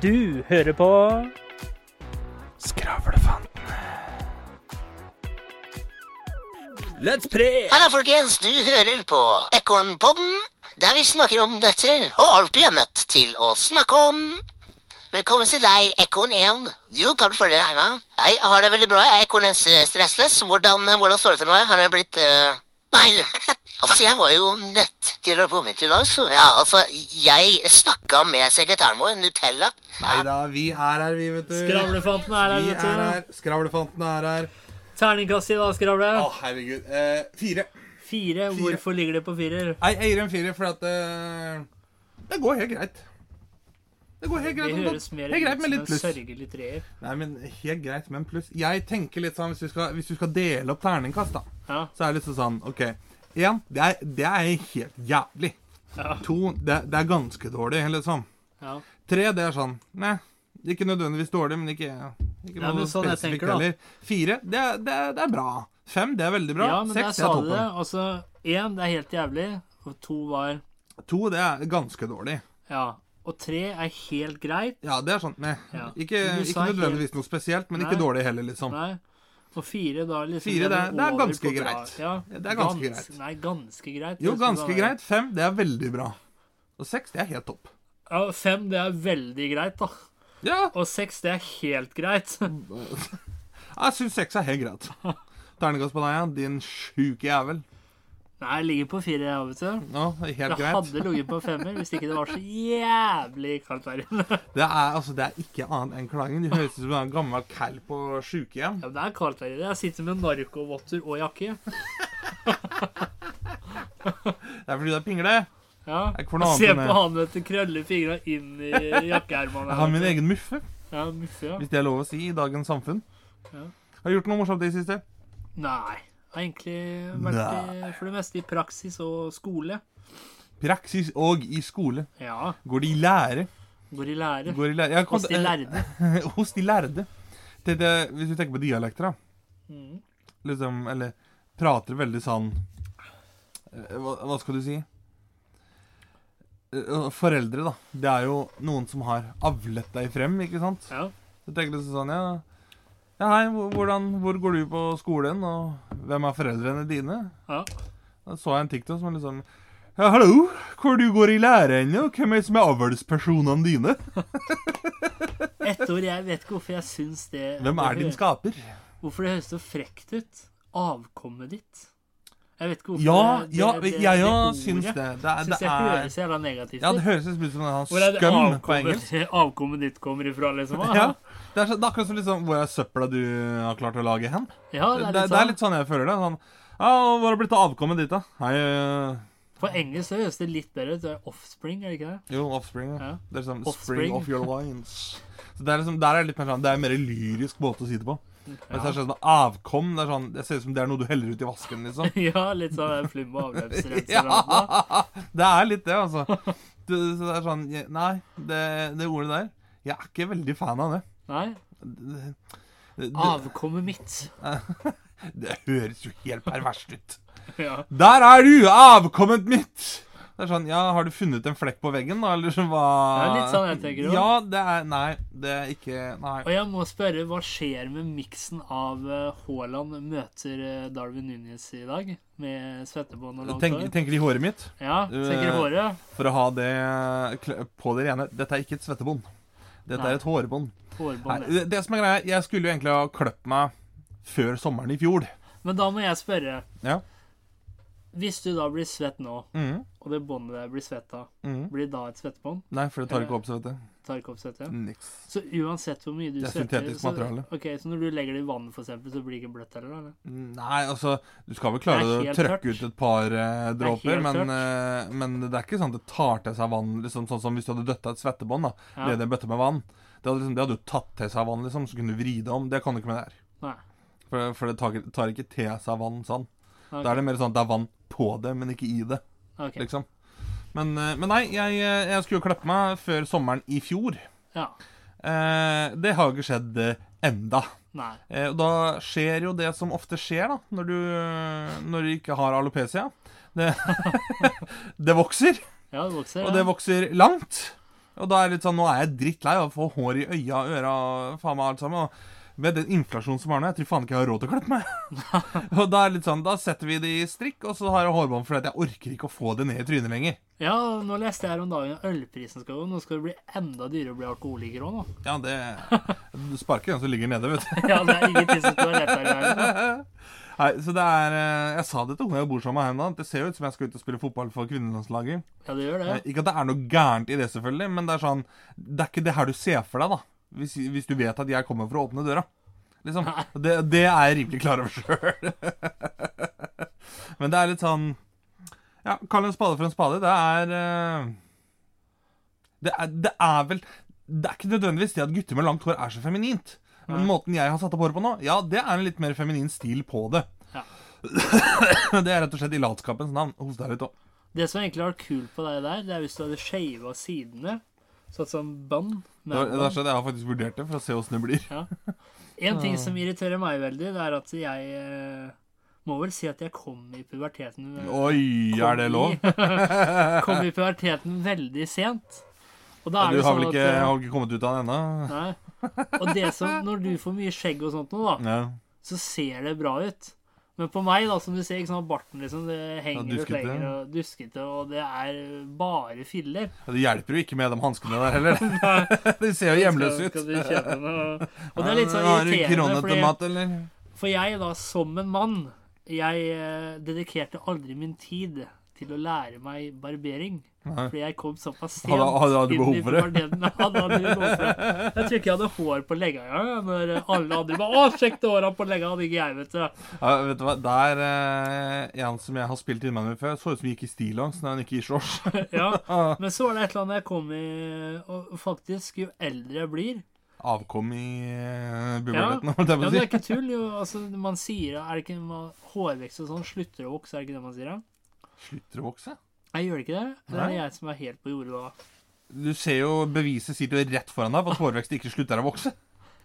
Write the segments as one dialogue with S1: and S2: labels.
S1: Du hører på
S2: Skravlefantene. Let's pray!
S3: Halla, folkens. Du hører på Ekornpodden, der vi snakker om nøtter og alt vi er nødt til å snakke om. Velkommen til deg, Ekorn1. Jo, kan du følge deg hjemme? Jeg har det veldig bra. Jeg er Ekorn Stressless. Hvordan, eh, hvordan står det til meg? Har jeg blitt eh, Nei, altså, jeg var jo nødt til å komme hit i dag, så ja, altså, jeg snakka med sekretæren vår, Nutella.
S4: Nei da, vi er her, vi, vet du.
S1: Skravlefanten er her,
S4: Vi
S1: vet
S4: er her. Skravlefanten er her.
S1: du. Terningkast i dag, Skravle.
S4: Å, herregud. Eh, fire.
S1: Fire. Hvorfor ligger det på firer?
S4: Nei, jeg gir en fire fordi at eh, Det går helt greit. Det går helt
S1: Det
S4: greit. om
S1: høres
S4: dagen.
S1: mer
S4: helt
S1: ut
S4: greit med
S1: som
S4: litt
S1: en
S4: pluss.
S1: sørgelig treer.
S4: Nei, men helt greit med en pluss. Jeg tenker litt sånn hvis du skal, hvis du skal dele opp terningkast, da,
S1: Ja.
S4: så er det litt sånn OK. Én, det, er- det er helt jævlig.
S1: Ja.
S4: To, det, det er ganske dårlig, liksom.
S1: ja.
S4: Tre, det er sånn Nei, ikke nødvendigvis dårlig, men ikke, ikke
S1: Ja, men
S4: noe
S1: sånn jeg
S4: spesifikt
S1: tenker, da.
S4: heller. Fire, det er, det, er, det er bra. Fem, det er veldig bra.
S1: ja, men der
S4: Seks,
S1: sa
S4: det er
S1: du det.
S4: toppen.
S1: Altså, én, det er helt jævlig. Og to var
S4: To, det er ganske dårlig.
S1: Ja. Og tre er helt greit.
S4: Ja, det er sånn Nei,
S1: Ja.
S4: ikke,
S1: Men du sa
S4: ikke nødvendigvis noe spesielt, men
S1: Nei.
S4: ikke dårlig heller, liksom.
S1: Nei. Og fire, da er liksom
S4: Fire, det er- det er
S1: over på
S4: ganske
S1: bra.
S4: greit.
S1: Ja.
S4: Ja, det er ganske greit.
S1: Nei, ganske greit.
S4: Jo,
S1: Det skulle
S4: ganske
S1: være-
S4: greit. Fem, det er veldig bra. Og seks, det er helt topp.
S1: Ja, fem, det er veldig greit, da.
S4: Ja,
S1: Og seks, det er helt greit.
S4: jeg syns seks er helt greit. Terningkast på deg, ja. Din sjuke jævel.
S1: Nei, jeg ligger på fire, jeg, vet du.
S4: Ja, det er helt
S1: Jeg
S4: greit.
S1: hadde ligget på femmer hvis ikke det var så jævlig kaldt der inne.
S4: Det er, altså, det er ikke annet enn klaging. Du høres ut som en gammel kall på sjukehjem.
S1: Ja, men det er kaldt der inne. Jeg sitter med narkovotter og jakke.
S4: Det er fordi du er pingle.
S1: Ja.
S4: Er ikke for noe
S1: Jeg ser
S4: annet enn
S1: på han vet du, krøller fingra inn i jakkeermene.
S4: Jeg har min egen muffe,
S1: Ja, muffe, ja.
S4: hvis det er lov å si i dagens samfunn.
S1: Ja.
S4: Har du gjort noe morsomt i det siste?
S1: Nei. Jeg har egentlig vært i, for det meste i praksis og skole.
S4: Praksis og i skole.
S1: Ja.
S4: Går de i lære?
S1: Går i lære.
S4: Går de i lære? Jeg kom- eh,
S1: Hos de lærde.
S4: Hos de lærde. Det, det, hvis du tenker på dialekter, da.
S1: Mm.
S4: Liksom, eller prater veldig sånn eh, hva, hva skal du si? Eh, Foreldre, da. Det er jo noen som har avlet deg frem, ikke sant?
S1: Ja.
S4: Så tenker du sånn, ja Ja, hei, hvor- hvordan, hvor går du på skolen, og hvem er foreldrene dine?
S1: ja.
S4: Da så jeg en TikTok som var litt sånn Ja, hallo, hvor du går i lære ennå? Hvem er det som er avlspersonene dine?
S1: Ett ord jeg vet ikke hvorfor jeg syns det
S4: Hvem er din skaper?
S1: Hvorfor det høres så frekt ut. Avkommet ditt. Jeg vet ikke hvorfor
S4: Ja,
S1: det- det-
S4: ja,
S1: det-
S4: jeg òg
S1: ordet
S4: syns det. Det er,
S1: Syns
S4: det
S1: jeg ikke
S4: er
S1: høres så jævla negativt
S4: Ja, det
S1: ut.
S4: høres ut som en
S1: Hvor er det
S4: skum på engelsk.
S1: avkommet, avkommet ditt kommer ifra, liksom? ah?
S4: Ja, det er, så, det er akkurat som liksom, hvor er søpla du har klart å lage hen?
S1: Ja,
S4: Det,
S1: det er litt
S4: det, det er
S1: sånn.
S4: litt sånn jeg føler det. Sånn, ja, Hvor har det blitt av avkommet ditt, da? Hei, eh,
S1: På engelsk så høres det litt bedre ut. Det er offspring, er det ikke det?
S4: Jo, Offspring. Ja.
S1: Ja.
S4: Det er liksom
S1: Offspring.
S4: Spring of your lines. Så det er liksom, Der er det litt mer sånn, det er en mer lyrisk måte å si det på. Mens det er sånn avkom det er sånn, Det ser ut som det er noe du heller ut i vasken, liksom.
S1: Ja, litt sånn flum og avløpsrenser. og sånn.
S4: ja, Det er litt det, altså. Du, så det er sånn jeg- Nei, det, det ordet der Jeg er ikke veldig fan av det.
S1: Nei.
S4: Det, det, det,
S1: Avkommet mitt.
S4: det høres jo helt perverst ut.
S1: Ja.
S4: Der er du, avkommet mitt! Det er sånn, ja, Har du funnet en flekk på veggen, da? Eller så hva
S1: Det er litt sånn jeg tenker også.
S4: Ja, det er Nei, det er ikke Nei.
S1: Og jeg må spørre, hva skjer med miksen av eh, Haaland møter eh, Darwin Nunes i dag? Med svettebånd og langt
S4: Tenk,
S1: hår?
S4: tenker de håret mitt?
S1: Ja, tenker
S4: Eh,
S1: håret.
S4: For å ha det kl- på det rene. Dette er ikke et svettebånd. Dette
S1: Nei.
S4: er et hårbånd. Nei,
S1: Hårbånd. ja.
S4: det, det som er greia, jeg skulle jo egentlig ha kløpt meg før sommeren i fjor.
S1: Men da må jeg spørre.
S4: Ja.
S1: Hvis du da blir svett nå,
S4: Mhm,
S1: og det båndet der blir svett av,
S4: mhm.
S1: blir da et svettebånd?
S4: Nei, for det tar ikke opp så vet du.
S1: Tar ikke opp svette?
S4: Niks.
S1: Så uansett hvor mye du
S4: Det er
S1: svetter
S4: syntetisk
S1: så,
S4: materiale.
S1: Ok, Så når du legger det i vann, for eksempel, så blir det ikke bløtt heller? Eller?
S4: Nei, altså, du skal vel klare å
S1: Det er helt
S4: trøkke
S1: tørt.
S4: ut et par eh,
S1: Det er
S4: dråper,
S1: helt
S4: men, eh, men det er ikke sånn at det tar til seg vann, liksom, sånn som hvis du hadde døtta et svettebånd, da.
S1: Ja.
S4: Ledig en bøtte med vann. Det hadde, liksom, det hadde jo tatt til seg vann, liksom, så kunne du vri det om. Det kan du ikke med det her.
S1: Nei.
S4: For, for det tar, tar ikke til seg vann sånn.
S1: Ok.
S4: Da er det mer sånn at det er vann på det, men ikke i det.
S1: Ok,
S4: liksom. Men, eh, men nei, jeg, eh, jeg skulle jo klippe meg før sommeren i fjor.
S1: ja.
S4: Eh, det har jo ikke skjedd eh, enda.
S1: Nei.
S4: Eh, og da skjer jo det som ofte skjer da, når du, eh, når du ikke har alopecia. Det, det vokser,
S1: Ja, det vokser.
S4: og
S1: ja.
S4: det vokser langt. Og da er det litt sånn, nå er jeg drittlei av å få hår i øya og øra og faen meg alt sammen. Og med den inflasjonen som er nå, jeg tror faen ikke jeg har råd til å klippe meg. og da er det litt sånn, da setter vi det i strikk, og så har jeg hårbånd fordi at jeg orker ikke å få det ned i trynet lenger.
S1: Ja, nå leste jeg her om dagen at ølprisen skal gå. Nå skal det bli enda dyrere å bli alkoholiker òg, nå.
S4: Ja, det Du sparker den som ligger nede, vet du.
S1: Ja, det er ingenting som skal være lettere i verden. da.
S4: Nei, så det er eh, Jeg sa det til hun jeg bor sammen med her om dagen. Det ser jo ut som jeg skal ut og spille fotball for kvinnelandslaget.
S1: Ja, det gjør det.
S4: Eh, Ikke at det er noe gærent i det, selvfølgelig, men det er sånn Det er ikke det her du ser for deg, da. Hvis, hvis du vet at jeg kommer for å åpne døra. Liksom. Det, det er jeg rimelig klar over sjøl. men det er litt sånn Ja, kall en spade for en spade. Det er eh, det er, det er vel Det er ikke nødvendigvis det at gutter med langt hår er så feminint. Men måten jeg har satt opp håret på nå, ja, det er en litt mer feminin stil på det.
S1: Ja.
S4: det er rett og slett i latskapens navn. Hos deg litt òg.
S1: Det som egentlig var kult på deg der, det er hvis du hadde shava sidene. Satt sånn bånd.
S4: Det
S1: med
S4: er- det er sånn Jeg har faktisk vurdert det, for å se åssen det blir.
S1: En ting som irriterer meg veldig, det er at jeg eh, må vel si at jeg kom i puberteten eh,
S4: Oi, er det lov?
S1: Kom i puberteten veldig sent. Og da er
S4: Du
S1: det
S4: har
S1: sånn
S4: vel ikke,
S1: at eh,
S4: har ikke kommet ut av den ennå?
S1: Nei. Og det som, når du får mye skjegg og sånt nå, da,
S4: Ja.
S1: så ser det bra ut. Men på meg, da, som du ser, ikke sant, barten liksom, det henger og
S4: duskete.
S1: slenger og duskete, og det er bare filler.
S4: Det hjelper jo ikke med de hanskene der heller. De ser jo hjemløse ut.
S1: Skal, skal du kjøpe noe? Og det er litt sånn
S4: Har du
S1: irriterende,
S4: kroner til
S1: fordi,
S4: mat, eller?
S1: for jeg da, som en mann, jeg eh, dedikerte aldri min tid til å lære meg barbering.
S4: Nei.
S1: Fordi jeg kom såpass sent.
S4: Hadde- hadde- hadde du
S1: inn i
S4: behov for det?
S1: puberteten. Ja, da hadde jeg behov for det. Jeg tror ikke jeg hadde hår på legga engang. Når alle andre bare 'Å, sjekk det håret på legga', hadde ikke jeg, vet du.
S4: Ja, vet du hva, Det er eh, en som jeg har spilt innvendig med før. Så ut som vi gikk i stillongs når han gikk i shorts.
S1: Ja. Men så var det et eller annet jeg kom i Og faktisk, jo eldre jeg blir
S4: Avkom i eh,
S1: Ja,
S4: puberteten,
S1: ja
S4: holdt jeg
S1: men
S4: på å
S1: det er
S4: si.
S1: ikke tull. Jo, altså, man sier er det ikke man, Hårvekst og sånn slutter å vokse, er det ikke det man sier? da?
S4: Slutter å vokse?
S1: Nei, gjør det ikke det? Det er
S4: Nei.
S1: jeg som er helt på jordet da.
S4: Du ser jo beviset sitter jo rett foran deg på at hårvekst ikke slutter å vokse.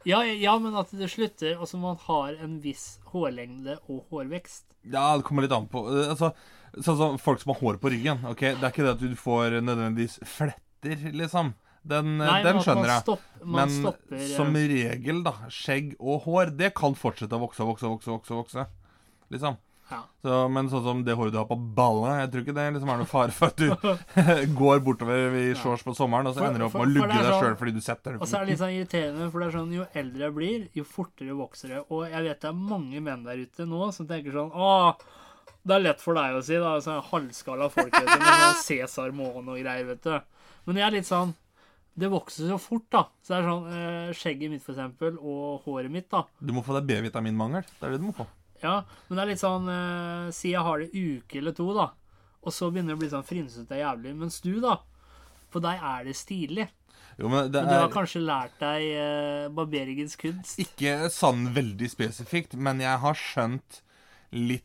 S1: Ja, ja, men at det slutter Altså, man har en viss hårlengde og hårvekst.
S4: Ja, det kommer litt an på. Eh, Altså, sånn som folk som har hår på ryggen. ok? Det er ikke det at du får nødvendigvis fletter, liksom. Den, eh,
S1: Nei, men at
S4: den
S1: man
S4: skjønner jeg.
S1: stopp- man
S4: Men
S1: stopper, eh,
S4: som regel, da, skjegg og hår, det kan fortsette å vokse og vokse og vokse, vokse, vokse. Liksom.
S1: eh, Ja.
S4: Så, men sånn som det håret du har på ballene, jeg tror ikke det liksom er noe fare for at du går bortover i shorts på sommeren, og så
S1: For-
S4: ender du opp
S1: for-
S4: med å
S1: for det
S4: lugge
S1: er
S4: deg
S1: sånn-
S4: sjøl fordi du setter
S1: Og
S4: den
S1: så er det litt sånn irriterende, for det er sånn, jo eldre jeg blir, jo fortere vokser det. Og jeg vet det er mange menn der ute nå som tenker sånn Å, det er lett for deg å si, da. Sånn halvskala folk, vet du. Med sånn Cæsar Moen og greier, vet du. Men jeg er litt sånn Det vokser så fort, da. Så det er sånn eh, Skjegget mitt, for eksempel, og håret mitt, da.
S4: Du må få deg B-vitaminmangel. Det er det du må få.
S1: Ja, men det er litt sånn eh, Si jeg har det uke eller to, da. Og så begynner det å bli sånn frynsete og jævlig. Mens du, da. For deg er det stilig.
S4: Jo, men det
S1: Men du har
S4: er
S1: kanskje lært deg eh, barberingens kunst.
S4: ikke sånn veldig spesifikt, men jeg har skjønt litt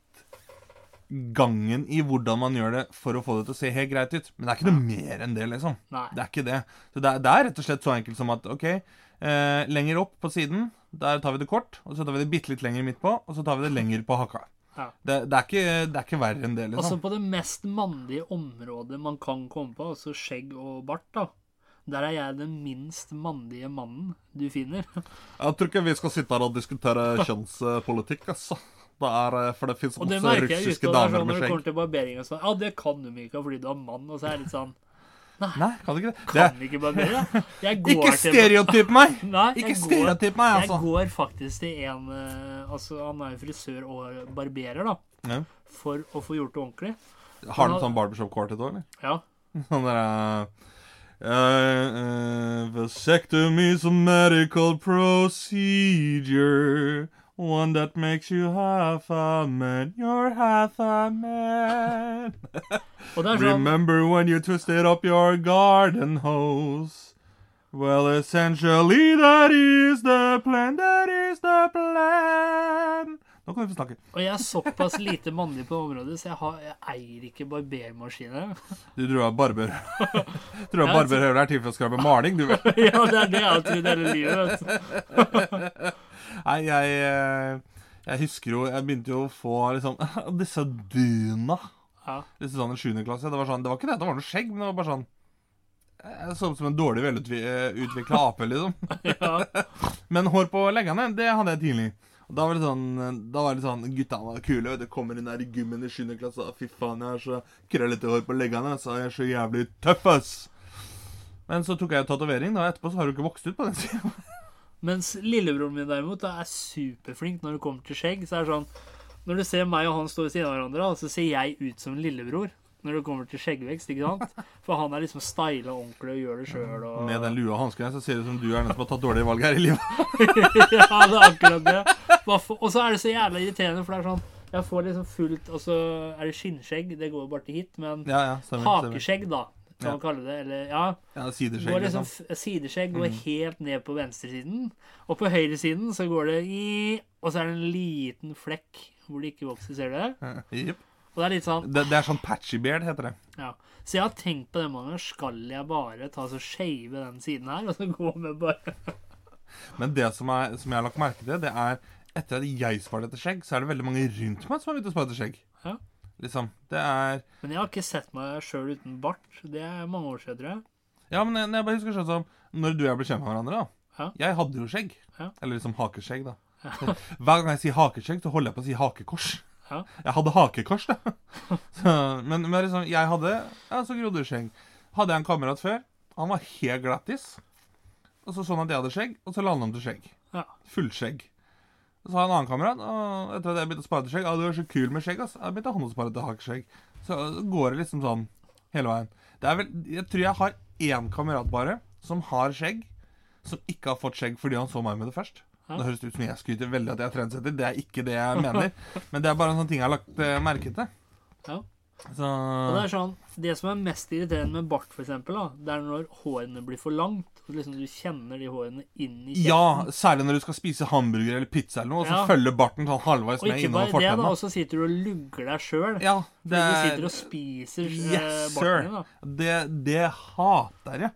S4: gangen i hvordan man gjør det for å få det til å se helt greit ut. Men det er ikke noe mer enn det, liksom.
S1: Nei.
S4: Det er ikke det. Så det er, det er rett og slett så enkelt som at OK, eh, lenger opp på siden, der tar vi det kort, og så tar vi det bitte litt lenger midt på, og så tar vi det lenger på hakka.
S1: Ja.
S4: Det, det, er ikke, det er ikke verre enn det,
S1: Altså
S4: liksom.
S1: på det mest mannlige området man kan komme på, altså skjegg og bart, da. Der er jeg den minst mannlige mannen du finner.
S4: Jeg tror ikke vi skal sitte her og diskutere kjønnspolitikk, altså. Det er, eh, for det fins
S1: Og det merker jeg ute. og det er sånn Når det kommer til barbering og sånn Ja, det kan du, Mikael, fordi du er mann. Og så er jeg litt sånn
S4: Nei, kan du ikke det? det
S1: Kan vi ikke barbere? Jeg går
S4: ikke
S1: til-
S4: stereotyp meg!
S1: Nei, jeg
S4: Ikke
S1: går-
S4: stereotyp meg,
S1: Jeg
S4: altså.
S1: går faktisk til en eh, Altså, han er jo frisør og barberer, da.
S4: Ja.
S1: For å få gjort det ordentlig.
S4: Har du sånn barbershop-kvartett òg, eller?
S1: Ja.
S4: Han der uh, Vasectomy is a medical procedure. One that makes you half a man. You're half a man.
S1: Og det er sånn
S4: Remember when you twisted up your garden hose? Well, essentially, that is the plan. That is the plan. Nå kan vi få snakke.
S1: Og jeg er såpass lite mannlig på området, så jeg, har, jeg eier ikke barbermaskiner.
S4: Du tror at barber Tror
S1: Ja,
S4: at barberhøvel er til for å skrape maling, du vel?
S1: Ja, det er det jeg har trodd hele livet. vet du.
S4: Nei, jeg, eh, jeg husker jo Jeg begynte jo å få liksom disse dyna.
S1: Ja.
S4: Liksom sånn i 7. klasse. Det var sånn, det var ikke det at det var noe skjegg, men det var bare sånn Jeg så ut som en dårlig velutvikla ape, liksom.
S1: Ja.
S4: Men hår på leggene, det hadde jeg tidlig. Og Da var det sånn, da var det sånn Gutta var kule. vet du, Kommer inn her i gymmen i 7. klasse. og Fy faen, jeg har så krøllete hår på leggene. Så jeg er så jævlig tøff, ass. Men så tok jeg tatovering, da. Etterpå så har du ikke vokst ut på den sida.
S1: Mens lillebroren min derimot da, er superflink når det kommer til skjegg. Så er det sånn Når du ser meg og han stå ved siden av hverandre, da, så ser jeg ut som lillebror. Når det kommer til skjeggvekst, ikke sant? For han er liksom styla og ordentlig og gjør det sjøl og
S4: Med den lua og hanskene så ser det ut som du er den som har tatt dårlige valg her i livet.
S1: Ja, det er akkurat det. Hva for- Og så er det så jævla irriterende, for det er sånn Jeg får liksom fullt Og så er det skinnskjegg, det går jo bare til hit, men
S4: Ja, ja, stemmer. stemmer.
S1: hakeskjegg, da, kan man kalle det. Eller ja.
S4: Ja,
S1: Går
S4: Sideskjegg.
S1: liksom,
S4: Liksom.
S1: f- sideskjegg går helt ned på venstresiden, og på høyresiden så går det i Og så er det en liten flekk hvor det ikke vokser, ser du det?
S4: Jipp.
S1: Og det er litt sånn
S4: liksom. Det, det er sånn patchy beard, heter det.
S1: Ja. Så jeg har tenkt på det mange ganger. Skal jeg bare ta så shave den siden her, og så gå med bare
S4: Men det som, er, som jeg har lagt merke til, det er etter at jeg sparte etter skjegg, så er det veldig mange rundt meg som har begynt å spare etter skjegg.
S1: Ja.
S4: Liksom. Det er
S1: Men jeg har ikke sett meg sjøl uten bart. Det er mange år siden, tror jeg.
S4: Ja, men jeg, når jeg bare husker sånn som Når du og jeg ble kjent med hverandre, da.
S1: Ja.
S4: Jeg hadde jo skjegg.
S1: Ja.
S4: Eller liksom hakeskjegg, da. Hver gang jeg sier hakeskjegg, så holder jeg på å si hakekors.
S1: Ja.
S4: Jeg hadde hakekors, da. Så, men, men liksom, jeg hadde Ja, så grodde det skjegg. Hadde jeg en kamerat før. Han var helt glattis. Og så sånn at jeg hadde skjegg, og så la han om til skjegg.
S1: Ja.
S4: Fullskjegg. Så har jeg en annen kamerat, og etter at jeg begynte å spare til skjegg Ja, du er så kul med skjegg, ass. Jeg begynte han å spare til hakeskjegg. Så går det liksom sånn hele veien. Det er vel, jeg tror jeg har én kamerat bare som har skjegg, som ikke har fått skjegg fordi han så meg med det først. Det høres ut som jeg skryter veldig at jeg er trendsetter. Det er ikke det jeg mener. Men det er bare en sånn ting jeg har lagt eh, merke til.
S1: Ja.
S4: Så
S1: Og det er sånn Det som er mest irriterende med bart, for eksempel, da, det er når hårene blir for langt. Og liksom du kjenner de hårene inn i kjeften.
S4: ja, særlig når du skal spise hamburger eller pizza eller noe, og så
S1: Ja.
S4: følger barten sånn halvveis
S1: Og
S4: med
S1: ikke
S4: innover
S1: bare det, da,
S4: fortenna.
S1: og så sitter du og lugger deg sjøl.
S4: Ja,
S1: Fordi
S4: det
S1: du
S4: er
S1: sitter og spiser
S4: Yes,
S1: yes, barten
S4: sir!
S1: din, da.
S4: Det, det hater jeg.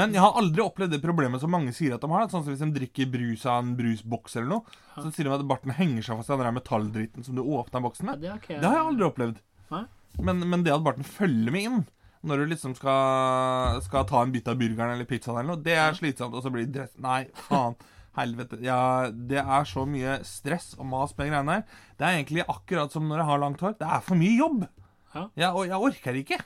S4: Men jeg har aldri opplevd det problemet som mange sier at de har. Sånn som Hvis de drikker brus av en brusboks eller noe, så sier de at barten henger seg fast i den der metalldritten som du åpna
S1: Ja,
S4: boksen med.
S1: det har ikke jeg.
S4: Det har jeg aldri opplevd.
S1: Nei.
S4: Men, men det at barten følger med inn når du liksom skal, skal ta en bit av burgeren eller pizzaen eller noe, det er slitsomt, og så blir det dress... Nei, faen. Helvete. Ja, det er så mye stress og mas med greiene her. Det er egentlig akkurat som når jeg har langt hår. Det er for mye jobb.
S1: Ja.
S4: Jeg, og jeg orker ikke.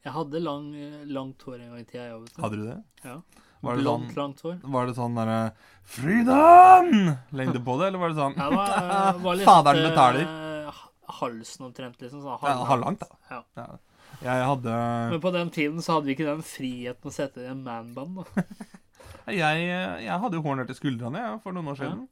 S1: Jeg hadde lang, eh, langt hår en gang i tida, jeg òg.
S4: Hadde du det?
S1: Ja.
S4: Var det
S1: Blondt,
S4: sånn-
S1: langt hår.
S4: Var det sånn derre Frydan! Lengde på det, eller var det sånn
S1: Jeg var, eh, var litt,
S4: Faderen
S1: eh,
S4: betaler.
S1: Halsen omtrent, liksom. Sånn,
S4: Ja, Halvlangt, da.
S1: Ja.
S4: Jeg hadde
S1: Men på den tiden så hadde vi ikke den friheten å sette i en manband. da.
S4: Jeg, jeg hadde jo hår ned til skuldrene jeg, for noen år
S1: Ja.
S4: siden.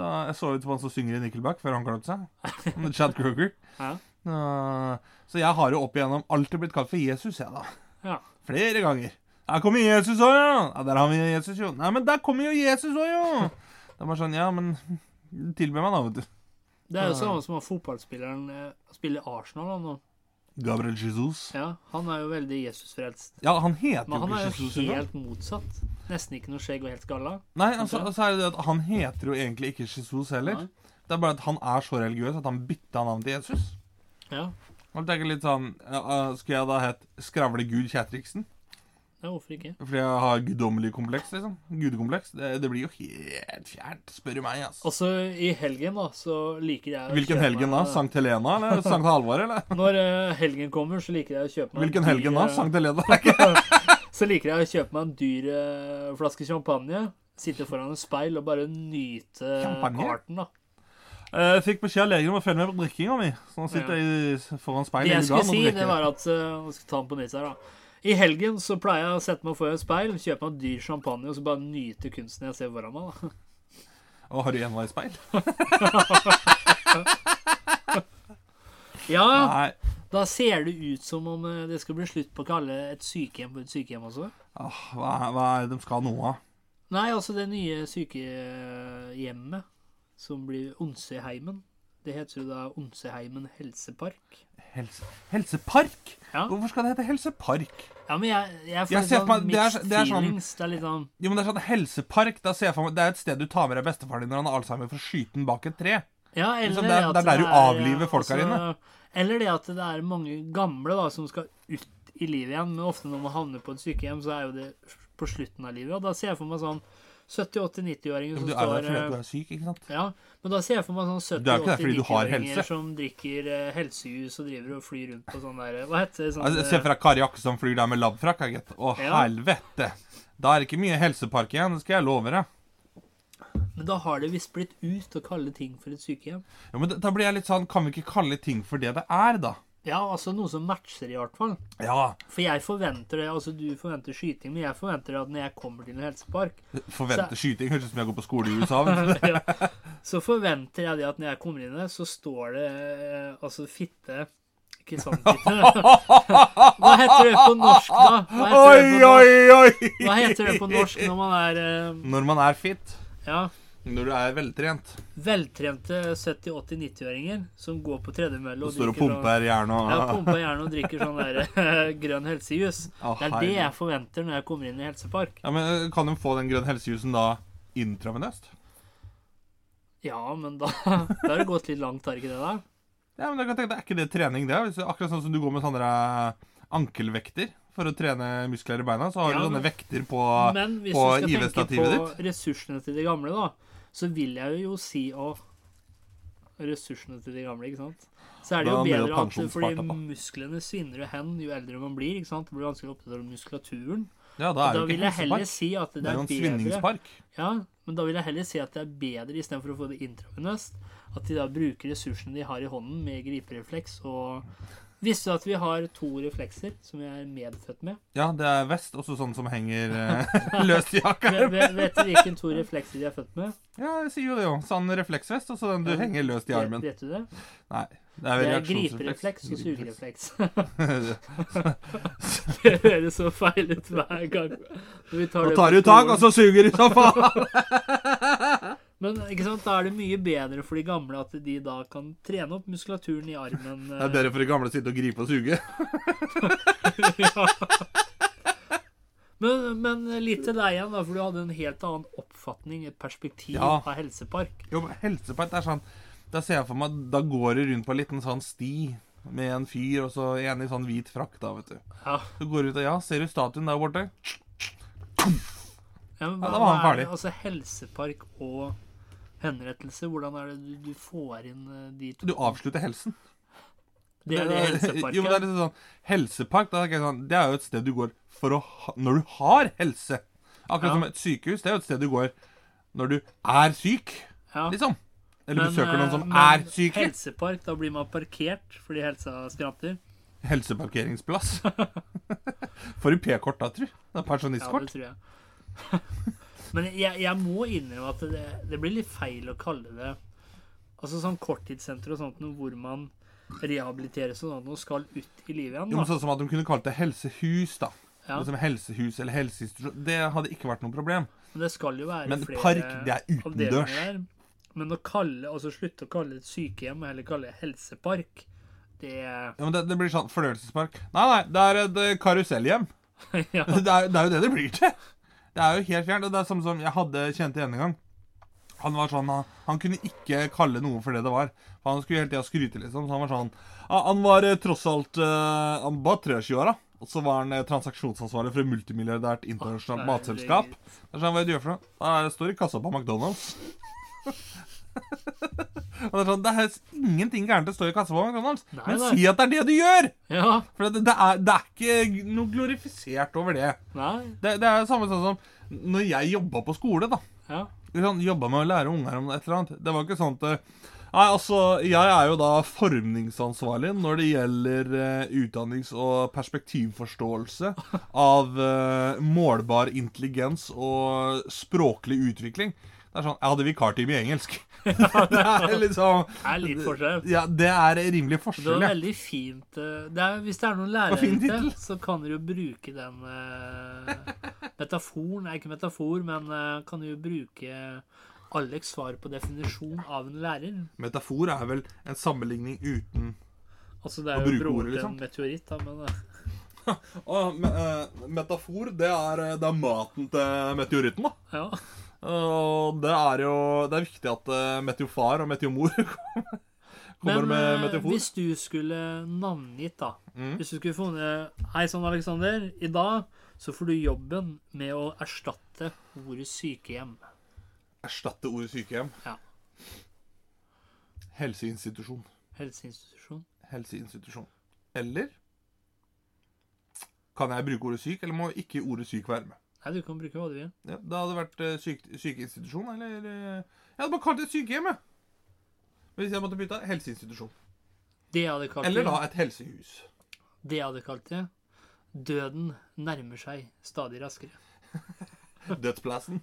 S4: Da jeg så ut på han som synger i Nickelback før han klarte seg. Med Chad Kroger.
S1: Ja.
S4: Uh, Så jeg har jo opp igjennom alltid blitt kalt for Jesus, jeg, da.
S1: Ja.
S4: Flere ganger. Der kommer Jesus òg, ja! ja! Der har vi Jesus, jo. Nei, men der kommer jo Jesus òg, jo! Det er bare sånn, ja, men Tilbe meg, da, vet du.
S1: Det
S4: Ah.
S1: er jo samme som han fotballspilleren eh, spiller i Arsenal da, nå.
S4: Gabriel Jesus.
S1: Ja, han er jo veldig Jesusfrelst.
S4: Ja, han heter
S1: Men
S4: jo
S1: han
S4: ikke
S1: er jo
S4: Jesus. engang.
S1: helt motsatt. Nesten ikke noe skjegg og helt skalla.
S4: Nei, altså, altså er det det at han heter jo egentlig ikke Jesus heller. Det er bare at han er så religiøs at han bytta navn til Jesus.
S1: Ja,
S4: Og jeg tenker litt sånn, ja, øh, Skulle jeg da hett Skravle Gud Kjetriksen?
S1: ja hvorfor ikke?
S4: Fordi jeg har guddommelig kompleks, liksom. Gudekompleks. Det, det blir jo helt fjernt, spør du meg. ass.
S1: Og så i helgen, da, så liker jeg å
S4: Hvilken
S1: kjøpe
S4: helgen da?
S1: meg-
S4: Sankt Helena eller Sankt Halvor? eller?
S1: Når eh, helgen kommer, så liker jeg å kjøpe meg en
S4: Hvilken
S1: dyr,
S4: helgen da?
S1: eh,
S4: Sankt Helena?
S1: Så liker jeg å kjøpe meg en dyr eh, flaske champagne, sitte foran et speil og bare nyte
S4: Champagne?
S1: arten, da.
S4: Eh, Jeg fikk beskjed av legen om å følge med på drikkinga mi. Så nå
S1: Ja.
S4: sitter jeg i- foran
S1: Det
S4: speilet
S1: jeg
S4: hele
S1: skulle
S4: dagen og
S1: si, det
S4: drikker.
S1: var at eh, Nå skal jeg ta den på nytt her, da. I helgen så pleier jeg å sette meg foran et speil, kjøpe meg en dyr champagne og så bare nyte kunsten jeg ser foran meg. da.
S4: Og har du enveisspeil?
S1: Ja,
S4: Nei.
S1: da ser det ut som om eh, det skal bli slutt på å kalle et sykehjem for et sykehjem også.
S4: Åh, hva, er- hva er det de skal nå av?
S1: Nei, altså det nye sykehjemmet som blir Onseheimen. Det heter jo da Onseheimen helsepark.
S4: Helse, helsepark?
S1: Ja.
S4: Hvorfor skal det hete helsepark?
S1: Ja, men jeg, jeg får
S4: Jeg
S1: litt
S4: ser
S1: sånn
S4: for meg- det er
S1: mixed
S4: så- det er sånn-
S1: feelings. Det er litt sånn
S4: Jo, men Det er sånn helsepark, da ser jeg for meg, det er et sted du tar med deg bestefaren din når han har alzheimer, for å skyte den bak et tre.
S1: Ja, eller
S4: Liksom, det er-
S1: at
S4: det er der du
S1: er,
S4: avliver folk her
S1: altså, Eller det at det er mange gamle da, som skal ut i livet igjen. Men ofte når man havner på et sykehjem, så er jo det på slutten av livet. Og da ser jeg for meg sånn 70-80-90-åringer
S4: Men
S1: som
S4: du er der
S1: står
S4: fordi at du
S1: eh,
S4: er syk, ikke sant?
S1: ja, men da ser jeg for meg sånn
S4: Du er jo ikke der fordi du har
S1: 70-80-90-åringer
S4: helse.
S1: som drikker eh, helsejus og driver og flyr rundt på sånn der Hva heter det? Sånn,
S4: Altså, se for deg Kari Jakke som flyr der med labfrakk, jeg, gitt. Å,
S1: Ja.
S4: helvete! Da er det ikke mye helsepark igjen, det skal jeg love deg.
S1: Men da har det visst blitt ut å kalle ting for et sykehjem.
S4: Jo, men da- da blir jeg litt sånn Kan vi ikke kalle ting for det det er, da?
S1: Ja, altså noe som matcher, i hvert fall.
S4: Ja,
S1: For jeg forventer det. Altså, du forventer skyting, men jeg forventer at når jeg kommer til en helsepark,
S4: forvente skyting. Høres ut som jeg går på skole i USA. Men
S1: ja, så forventer jeg det at når jeg kommer inn i det, så står det eh, altså fitte Kristiansen-fitte. Hva heter det på norsk, da? Hva heter det
S4: Ah, Oi,
S1: på norsk,
S4: oi, oi!
S1: Hva heter det på norsk når man er eh,
S4: Når man er fit,
S1: ja,
S4: når du er veltrent,
S1: veltrente 70-80-90-åringer som går på tredemølle
S4: og
S1: og
S4: står og
S1: drikker sånn-
S4: pumper jern og
S1: Ja, pumper gjerne og drikker sånn der grønn helsejus.
S4: Å,
S1: Det er det
S4: herregud.
S1: jeg forventer når jeg kommer inn i helsepark.
S4: Ja, men eh, Kan de få den grønn helsejusen da intravenøst?
S1: Ja, men da, da har det gått litt langt, har ikke det da?
S4: Ja, men jeg kan tenke, deg, Er ikke det trening, det? Hvis det er akkurat sånn som du går med sånne eh, ankelvekter for å trene muskler i beina, så har
S1: Ja,
S4: du sånne
S1: men-
S4: vekter på,
S1: Men hvis
S4: på
S1: du skal tenke
S4: IV-stativet ditt.
S1: på ressursene til de gamle, da, så vil jeg jo si å Ressursene til de gamle, ikke sant? Så er det jo
S4: Da blir det
S1: bedre at
S4: pensjonsspart
S1: fordi
S4: opp, da.
S1: musklene svinner jo hen jo eldre man blir. ikke sant? Det blir vanskelig å oppdatere muskulaturen.
S4: Ja, da
S1: Da
S4: er det jo
S1: vil
S4: ikke
S1: jeg heller
S4: helsepark.
S1: si at det,
S4: Det er jo
S1: er
S4: en
S1: bedre
S4: svinningspark.
S1: Ja, men da vil jeg heller si at det er bedre, istedenfor å få det intravenøst, at de da bruker ressursene de har i hånden, med griperefleks og Visste du at vi har to reflekser som vi er medfødt med?
S4: Ja, det er vest, også sånn som henger eh, løst i jakka.
S1: Vet, vet vet du hvilken to reflekser de er født med?
S4: Ja, jeg sier jo det jo. Sånn refleksvest, og så den du
S1: Ja.
S4: henger løst i armen.
S1: Vet, vet du det?
S4: Nei. Det er
S1: Det
S4: vel
S1: er griperefleks
S4: reaksjonsrefleks.
S1: og sugerefleks.
S4: Griperefleks.
S1: Det høres så feil ut hver gang. Vi
S4: Nå
S1: det
S4: tar
S1: på
S4: du tak, altså.
S1: skolen.
S4: og så suger du som faen!
S1: Men ikke sant, da er det mye bedre for de gamle at de da kan trene opp muskulaturen i armen. eh,
S4: Det er bedre for de gamle å sitte og gripe og suge.
S1: Men, men litt til deg igjen, da, for du hadde en helt annen oppfatning, et perspektiv
S4: Ja.
S1: av helsepark.
S4: Jo, men helsepark, det er sånn Da ser jeg for meg Da går du rundt på en liten sånn sti med en fyr, og så en i sånn hvit frakk, da, vet du.
S1: Ja.
S4: Du går ut og Ja, ser du statuen der borte?
S1: Ja, men hva,
S4: Ja, da var
S1: hva
S4: han
S1: er det,
S4: ferdig.
S1: altså helsepark og henrettelse, hvordan er det du, du får inn eh, de to?
S4: Du avslutter helsen.
S1: Det er det
S4: Jo, men det er
S1: helseparket.
S4: litt sånn Helsepark, da, tenker jeg sånn, det er jo et sted du går for å ha, når du har helse. Akkurat
S1: Ja.
S4: som et sykehus. Det er jo et sted du går når du er syk,
S1: Ja.
S4: liksom. Eller
S1: Men,
S4: besøker noen
S1: eh,
S4: som
S1: men
S4: er syke.
S1: Helsepark, da blir man parkert fordi helsa skraper.
S4: Helseparkeringsplass. Får du P-kort da, tru? Det er
S1: Ja,
S4: Pensjonistkort.
S1: det tror jeg. Men jeg, jeg må innrømme at det, det blir litt feil å kalle det Altså sånn korttidssenter og sånt noe hvor man rehabiliteres og sånt noe skal ut i livet
S4: Jo, men
S1: igjen. Da.
S4: sånn som at de kunne kalt det helsehus, da.
S1: Ja,
S4: Liksom helsehus eller helseinstitusjon. Det hadde ikke vært noe problem.
S1: men det skal jo være
S4: Men
S1: flere
S4: park, det er utendørs.
S1: avdelinger der. Men å kalle, altså slutte å kalle det et sykehjem og heller kalle det helsepark, det
S4: Ja, men det, det blir sånn fornøyelsespark. Nei, nei, det er et eh, karusellhjem.
S1: Ja.
S4: Det er, det er jo det det blir til. Det er jo helt fjernt. Og det er samme som jeg hadde kjent igjen en gang. Han var sånn, han, han kunne ikke kalle noe for det det var. For han skulle hele tida skryte, liksom. Så han var sånn ja, Han var eh, tross alt eh, Han var 23-åra. Og så var han eh, transaksjonsansvarlig for et multimilliardært internasjonalt matselskap. Det er sånn, hva er det du gjør for noe? «Nei, Jeg står i kassa på McDonald's. Og det er sånn, det er ingenting gærent å stå i kassa på McDonald's,
S1: Nei,
S4: men
S1: nei.
S4: si at det er det du gjør!
S1: Ja,
S4: For det, det, er, det er ikke noe glorifisert over det.
S1: nei,
S4: Det, det er jo samme sånn som når jeg jobba på skole, da.
S1: ja.
S4: Sånn, jobba med å lære unger om et eller annet. Det var ikke sånn at eh, Nei, altså, jeg er jo da formningsansvarlig når det gjelder eh, utdannings- og perspektivforståelse av eh, målbar intelligens og språklig utvikling. Det er sånn Jeg hadde vikartime i engelsk. det er liksom
S1: Det er litt forskjell.
S4: Ja, det er
S1: Det
S4: rimelig
S1: var
S4: forskjell, ja.
S1: veldig fint. eh, Det er, hvis det er noen lærere
S4: fin tittel.
S1: ute, så kan dere jo bruke den eh, metaforen Nei, ikke metafor, men eh, kan dere jo bruke Alex' svar på definisjon av en lærer.
S4: Metafor er vel en sammenligning uten
S1: Altså, det
S4: Å
S1: er jo
S4: bruke
S1: broren
S4: ordet,
S1: til
S4: liksom?
S1: en meteoritt, da, men eh,
S4: Ah, me eh, metafor, det er, eh, det er maten til meteoritten, da.
S1: ja.
S4: Eh, Og det er jo Det er viktig at eh, meteofar og meteomor Kommer
S1: Men
S4: med
S1: eh,
S4: metafor. Mm.
S1: hvis du skulle navngitt, da Hvis du skulle funnet Hei sann, Aleksander. I dag så får du jobben med å erstatte ordet sykehjem.
S4: Erstatte ordet sykehjem.
S1: Ja.
S4: Helseinstitusjon.
S1: Helseinstitusjon.
S4: Helseinstitusjon. Eller Kan jeg bruke ordet syk, eller må ikke ordet syk være med?
S1: Nei, du kan bruke hva du vil.
S4: Ja, da hadde det vært eh, syk, sykeinstitusjon, eller eh, Jeg hadde bare kalt det et sykehjem, jeg. Men Hvis jeg måtte bytte helseinstitusjon.
S1: Det jeg hadde kalt
S4: Eller da
S1: det,
S4: et helsehus.
S1: det jeg hadde kalt det Døden nærmer seg stadig raskere.
S4: Dødsplassen.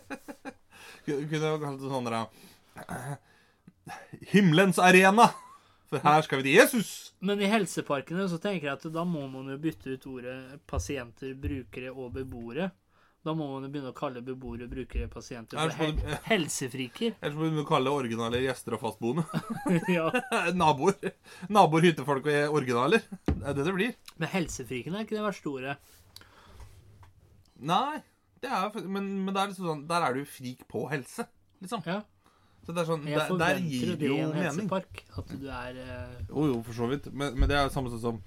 S4: Kunne jeg kalt det sånn der eh, Himmelens arena! For her skal vi til Jesus!
S1: Men i helseparkene så tenker jeg at da må man jo bytte ut ordet pasienter, brukere og beboere. Da må man jo begynne å kalle beboere, brukere, pasienter
S4: Er
S1: for
S4: det sånn-
S1: hel helsefriker.
S4: Ellers må vi kalle det originale gjester og fastboende.
S1: ja.
S4: Naboer. Naboer, hyttefolk og originaler. Det er det det blir.
S1: Men helsefriken er ikke det verste ordet.
S4: Nei, det er, jo- men, men det er liksom sånn, der er du frik på helse, liksom.
S1: Ja.
S4: Så det er sånn,
S1: Men jeg
S4: der, der
S1: forventer
S4: gir
S1: jo
S4: det
S1: det i
S4: jo
S1: en
S4: mening.
S1: helsepark. At du er eh,
S4: Jo, jo, for så vidt. Men, men det er jo samme sånn som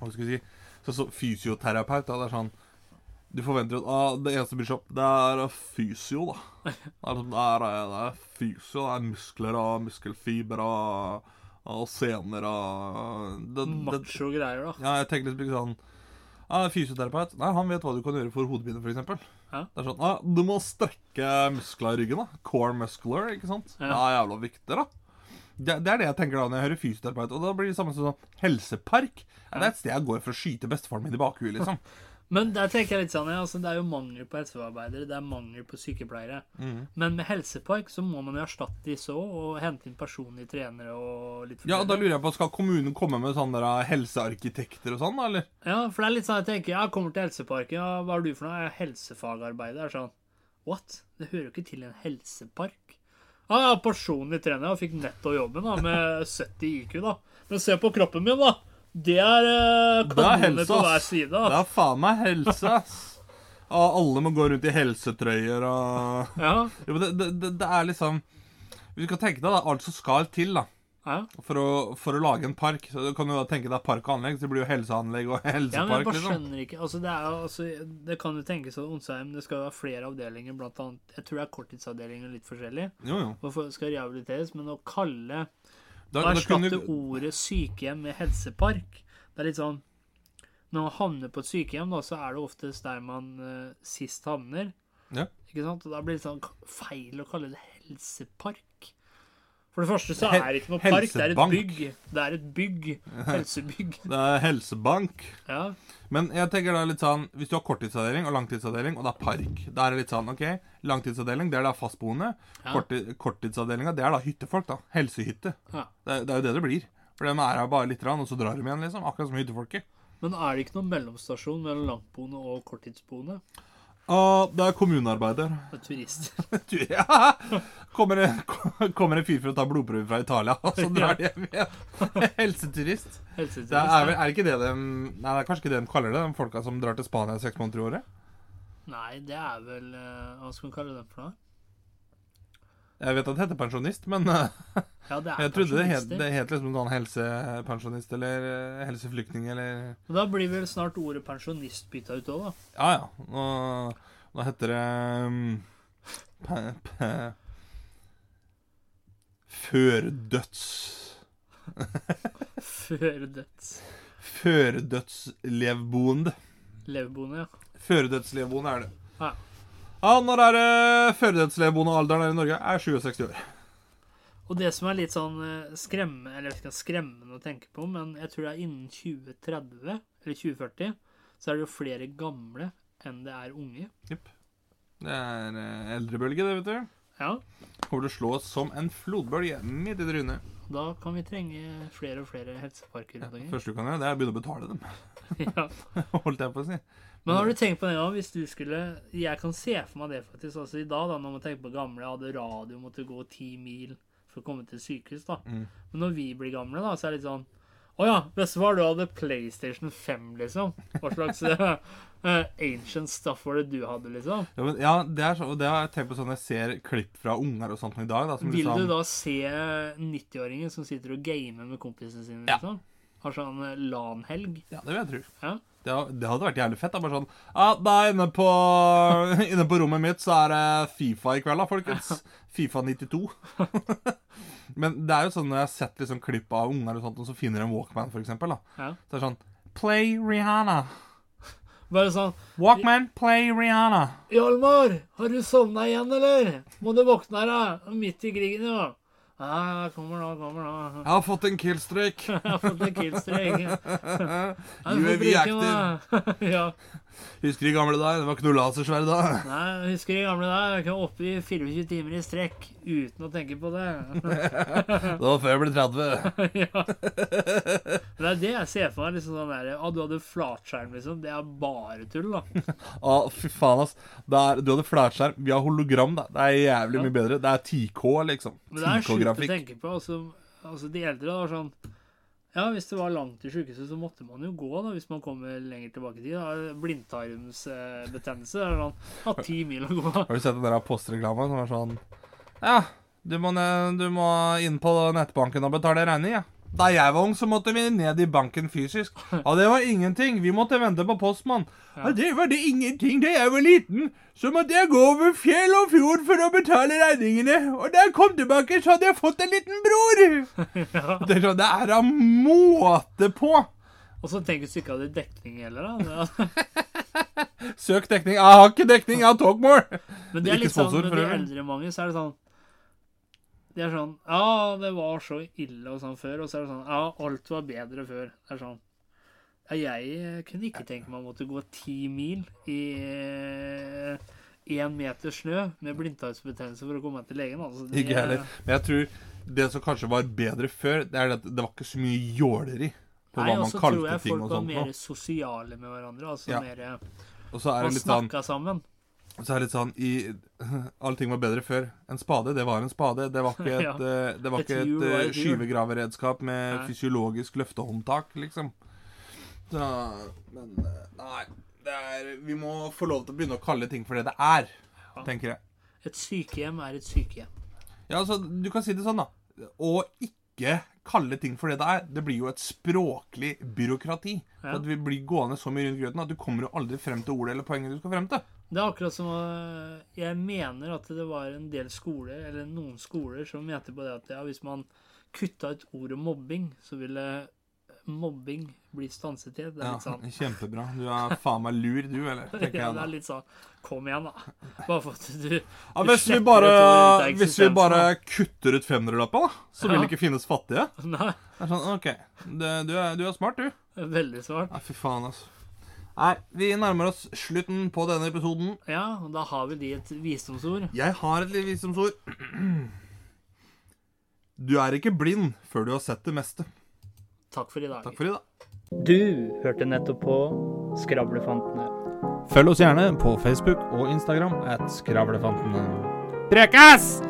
S4: Hva skal vi si så, så Fysioterapeut, da. Det er sånn Du forventer jo at ah, det eneste som blir kjøpt, det er fysio, da. Det er, sånn, det er, det er fysio. Det er muskler og muskelfiber og, og sener og det, det,
S1: macho greier, da.
S4: Ja, jeg tenker liksom ikke sånn ah, Fysioterapeut Nei, han vet hva du kan gjøre for hodepine, for eksempel.
S1: Ja.
S4: Det er sånn ah, Du må strekke muskler i ryggen. da Core muscular, ikke sant?
S1: Ja.
S4: Det er jævla viktig, da. Det, det er det jeg tenker da når jeg hører fysioterapeut. Og da blir det samme som sånn helsepark. Ja. Det er et sted jeg går for å skyte bestefaren min i bakhuet, liksom.
S1: Men der tenker jeg litt sånn, ja, altså, det er jo mangel på helsearbeidere, det er mangel på sykepleiere.
S4: Mm.
S1: Men med helsepark så må man jo erstatte disse òg, og hente inn personlige trenere og litt
S4: Ja, og Da
S1: forskjellig.
S4: lurer jeg på, skal kommunen komme med sånne der eh, helsearkitekter og sånn, da, eller?
S1: ja, for det er litt sånn jeg tenker, ja, kommer til helseparken, ja, hva er du for noe? Jeg er helsefagarbeider. Sånn, what? Det hører jo ikke til en helsepark. Ja, jeg er personlig trener, og fikk netto jobben da, med 70 IQ, da. Men se på kroppen min, da. Det er eh,
S4: Det er
S1: kanoner
S4: helse,
S1: på hver
S4: ass.
S1: side.
S4: Det
S1: Da.
S4: er faen meg helse, ass. Og alle må gå rundt i helsetrøyer og
S1: Ja,
S4: Jo, men det, det, det, det er liksom Hvis du kan tenke deg da, alt som skal til da
S1: ja.
S4: for å, for å lage en park Så du kan jo da tenke deg park og anlegg Så det blir jo helseanlegg og
S1: Ja, men jeg
S4: helsepark
S1: bare
S4: liksom
S1: skjønner ikke altså, det, er, jo- altså, det kan jo tenkes at Onsheim det skal være flere avdelinger, blant annet Jeg tror det er korttidsavdelinger litt forskjellig.
S4: Jo jo
S1: Og for- skal rehabiliteres. Men å kalle
S4: da,
S1: Å
S4: da kunne
S1: erstatte
S4: du-
S1: ordet sykehjem med helsepark, det er litt sånn Når man havner på et sykehjem, da, så er det oftest der man eh, sist havner.
S4: Ja.
S1: Ikke sant? Og da blir det sånn k- feil å kalle det helsepark. For det første så er det ikke noe park, det er et
S4: Helsebank.
S1: bygg. Det er et bygg. Helsebygg.
S4: Det er helsebank
S1: Ja.
S4: Men jeg tenker da litt sånn Hvis du har korttidsavdeling og langtidsavdeling Og det er park Da er det litt sånn, ok Langtidsavdeling, det er da fastboende
S1: Ja.
S4: Kortti- Korttidsavdelingen, det er da hyttefolk da Helsehytte
S1: ja.
S4: Det, er- det er jo det det blir For de er her bare litt rann, Og så drar de igjen liksom Akkurat som hyttefolket
S1: Men er det ikke noen mellomstasjon mellom langtboende og korttidsboende?
S4: Ah, Det er kommunearbeider
S1: Det er turist.
S4: Du, ja. kommer, det, kommer en fyr for å ta blodprøve fra Italia, og så drar de hjem igjen. Helseturist. Det er, er,
S1: Helseturist.
S4: vel- er det ikke det de Nei, det er kanskje ikke det de kaller det, de folka som drar til Spania seks måneder i året?
S1: Nei, det er vel eh, Hva skal man kalle den for noe?
S4: Jeg vet at det heter pensjonist, men eh,
S1: Ja, det er
S4: jeg trodde det het,
S1: pensjonister.
S4: det het liksom sånn helsepensjonist eller eh, helseflyktning eller
S1: Men Da blir vel snart ordet pensjonist bytta ut òg, da.
S4: Ja ja. Nå, nå heter det mm, pe- pe- Førdøds...
S1: Før døds.
S4: Førdødslevboende.
S1: Leveboende, ja.
S4: Føredødslevboende er det.
S1: Ja.
S4: Ja, når er det føredødslevboende-alderen her i Norge? Er 67 år.
S1: Og det som er litt sånn eh, skremmende, eller ikke skremmende å tenke på, men jeg tror det er innen 2030 eller 2040, så er det jo flere gamle enn det er unge.
S4: Det er eh, eldrebølge, det, vet du.
S1: Ja,
S4: Kommer til å slå oss som en flodbølge midt i trynet.
S1: da kan vi trenge flere og flere helseparker rundt omkring.
S4: Første du kan gjøre, det er å begynne å betale dem.
S1: Ja.
S4: Holdt jeg på å si.
S1: Men har du tenkt på den gangen hvis du skulle Jeg kan se for meg det faktisk. Altså i dag, da, når man tenker på gamle, jeg hadde radio,
S4: Mm.
S1: måtte gå ti mil for å komme til sykehus, da. Men når vi blir gamle, da, så er det litt sånn Å ja, bestefar, du hadde PlayStation 5, liksom. Hva slags eh, eh, ancient stuff var det du hadde, liksom?
S4: Ja, men, ja det, er så, og det har jeg tenkt på sånn jeg ser klipp fra unger og sånt nå i dag. Da, som
S1: Vil
S4: liksom,
S1: du da se 90-åringer som sitter og gamer med kompisene sine,
S4: Ja.
S1: liksom? Har sånn eh, LAN-helg.
S4: Ja, det vil jeg tro.
S1: Ja.
S4: Det, ha- det hadde vært jævlig fett. Da, bare sånn ja, da inne, på, inne på rommet mitt så er det Fifa i kveld, da, folkens. Fifa 92. Men det er jo sånn når jeg har sett liksom, klipp av unger og sånt, og så finner de en Walkman, for eksempel, da.
S1: ja.
S4: Så er det sånn Play Rihanna.
S1: Bare sånn
S4: Walkman, play Rihanna.
S1: Hjalmar, har du sovna igjen, eller? Må du våkne her, da? Midt i krigen, jo. Ja, ja, kommer nå, kommer nå.
S4: Jeg har fått en killstreak.
S1: Jeg har fått en killstrek.
S4: UAV active.
S1: ja.
S4: Husker de gamle der? Det var ikke noe lasersverd da.
S1: Nei, jeg husker de gamle der? Jeg kunne oppe i 24 timer i strekk uten å tenke på det.
S4: Det var før jeg ble 30.
S1: ja. Det er det jeg ser for meg. liksom sånn der, ah, Du hadde flatskjerm, liksom. Det er bare tull, da.
S4: Å, fy faen, ass. Det er, du hadde flatskjerm. Vi har hologram, da. Det er jævlig mye bedre. Det er 10K, liksom.
S1: Men det er sjukt å
S4: 10K-grafikk.
S1: tenke på. Altså, altså De eldre da var sånn Ja, hvis det var langt til sjukehuset, så måtte man jo gå, da, hvis man kommer lenger tilbake i tid. da. Blindtarmsbetennelse. Det er sånn Ha ti mil å gå.
S4: Har du sett den der postreklama som er sånn Ja, du må, ned, du må inn på nettbanken og betale regning, ja. Da jeg var ung, så måtte vi ned i banken fysisk. Ja, det var ingenting. Vi måtte vente på postmann. Ja, det var det ingenting da jeg var liten. Så måtte jeg gå over fjell og fjord for å betale regningene. Og da jeg kom tilbake, så hadde jeg fått en liten bror. Det er sånn, det er da måte på.
S1: Og så tenk hvis du ikke hadde dekning heller, da. Det,
S4: Søk dekning. Jeg har ikke dekning, jeg har Talkmore.
S1: Men det er
S4: Ikke
S1: litt sånn,
S4: sponsor,
S1: med
S4: for
S1: de
S4: øvrig.
S1: eldre mange, så er det sånn Det er sånn Ja, det var så ille og sånn før, og så er det sånn Ja, alt var bedre før. Det er sånn Ja, jeg kunne ikke tenke meg å måtte gå ti mil i én meter snø med blindtarmsbetennelse for å komme meg til legen. Altså, det,
S4: Ikke heller. Men jeg tror det som kanskje var bedre før, det er at det var ikke så mye jåleri på
S1: Nei,
S4: hva
S1: og
S4: man
S1: så tror
S4: kalte
S1: jeg
S4: ting
S1: folk
S4: og
S1: var
S4: sånt.
S1: mer
S4: nå.
S1: sosiale med hverandre. Altså
S4: Ja.
S1: mer
S4: Og så er
S1: Man
S4: det litt sånn,
S1: snakka sammen.
S4: så er det litt sånn i, Alle ting var bedre før. En spade, det var en spade. Det var ikke et,
S1: Ja.
S4: eh, det var
S1: Et
S4: ikke et,
S1: hjul var
S4: eh,
S1: et hjul.
S4: skyvegraveredskap med
S1: Nei.
S4: fysiologisk løftehåndtak, liksom. Så, men eh, Nei. Det er, vi må få lov til å begynne å kalle ting for det det er, tenker jeg.
S1: Et sykehjem er et sykehjem.
S4: Ja, altså, du kan si det sånn, da. Å ikke kalle ting for det det er, det blir jo et språklig byråkrati.
S1: Ja.
S4: At vi blir gående så mye rundt grøten at du kommer jo aldri frem til ordet eller poenget du skal frem til.
S1: Det er akkurat som øh, Jeg mener at det var en del skoler, eller noen skoler, som mente på det at ja, hvis man kutta ut ordet mobbing, så ville eh, mobbing bli stanset i. Det er
S4: Ja,
S1: litt sånn
S4: Kjempebra. Du er faen meg lur, du, eller? tenker
S1: ja,
S4: jeg
S1: det
S4: da.
S1: er litt sånn Kom igjen, da. Bare for at du
S4: Ja,
S1: du
S4: hvis, vi
S1: sletter
S4: bare,
S1: et ord ut av
S4: hvis vi
S1: eksistensen,
S4: bare
S1: da.
S4: kutter ut femmerlappa, da, så vil
S1: Ja.
S4: det ikke finnes fattige.
S1: Nei,
S4: Det er sånn, OK. Det, du, er, du er smart, du.
S1: det er veldig svart.
S4: Nei, fy faen, altså. Nei, vi nærmer oss slutten på denne episoden.
S1: Ja, og da har vi de et visdomsord.
S4: Jeg har et lite visdomsord. Du er ikke blind før du har sett det meste.
S1: Takk for i dag.
S4: Takk for i dag.
S1: Du hørte nettopp på Skravlefantene.
S5: Følg oss gjerne på Facebook og Instagram at Skravlefantene. Prekas!